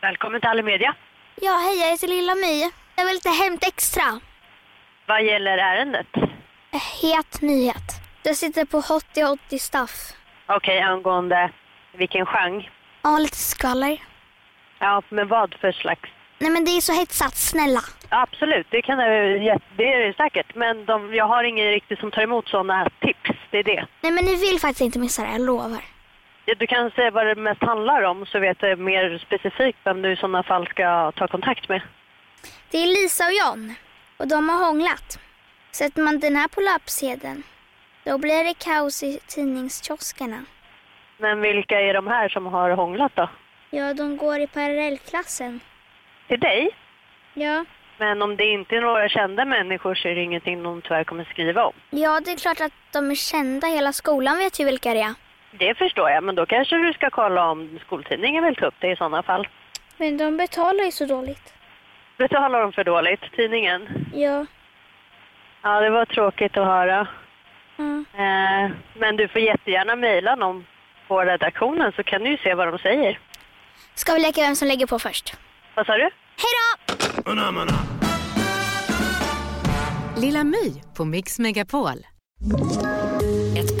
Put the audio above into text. Välkommen till Alimedia. Ja, hej, jag heter Lilla My. Jag vill lite Hämt Extra. Vad gäller ärendet? Het nyhet. Jag sitter på Hottie Hottie Staff. Okej, angående vilken genre? Ja, lite skvaller. Ja, men vad för slags? Nej, men det är så hetsat, snälla. Ja, absolut, det, kan, det det är det säkert. Men de, jag har ingen riktigt som tar emot sådana tips. Det är det. Nej, men ni vill faktiskt inte missa det, jag lovar. Ja, Du kan säga vad det mest handlar om så vet jag mer specifikt vem du i sådana fall ska ta kontakt med. Det är Lisa och John och de har hånglat. Sätter man den här på löpsedeln, då blir det kaos i tidningskioskerna. Men vilka är de här som har hånglat då? Ja, de går i parallellklassen. Till dig? Ja. Men om det inte är några kända människor så är det ingenting de tyvärr kommer skriva om. Ja, det är klart att de är kända. Hela skolan vet ju vilka det är. Det förstår jag, men då kanske du ska kolla om skoltidningen vill ta upp det i sådana fall. Men de betalar ju så dåligt. Betalar de för dåligt, tidningen? Ja. Ja, det var tråkigt att höra. ja. Eh, men du får jättegärna mejla någon på redaktionen så kan du ju se vad de säger. Ska vi leka vem som lägger på först? Vad sa du? Hej då! Lilla My på Mix Megapol. Ett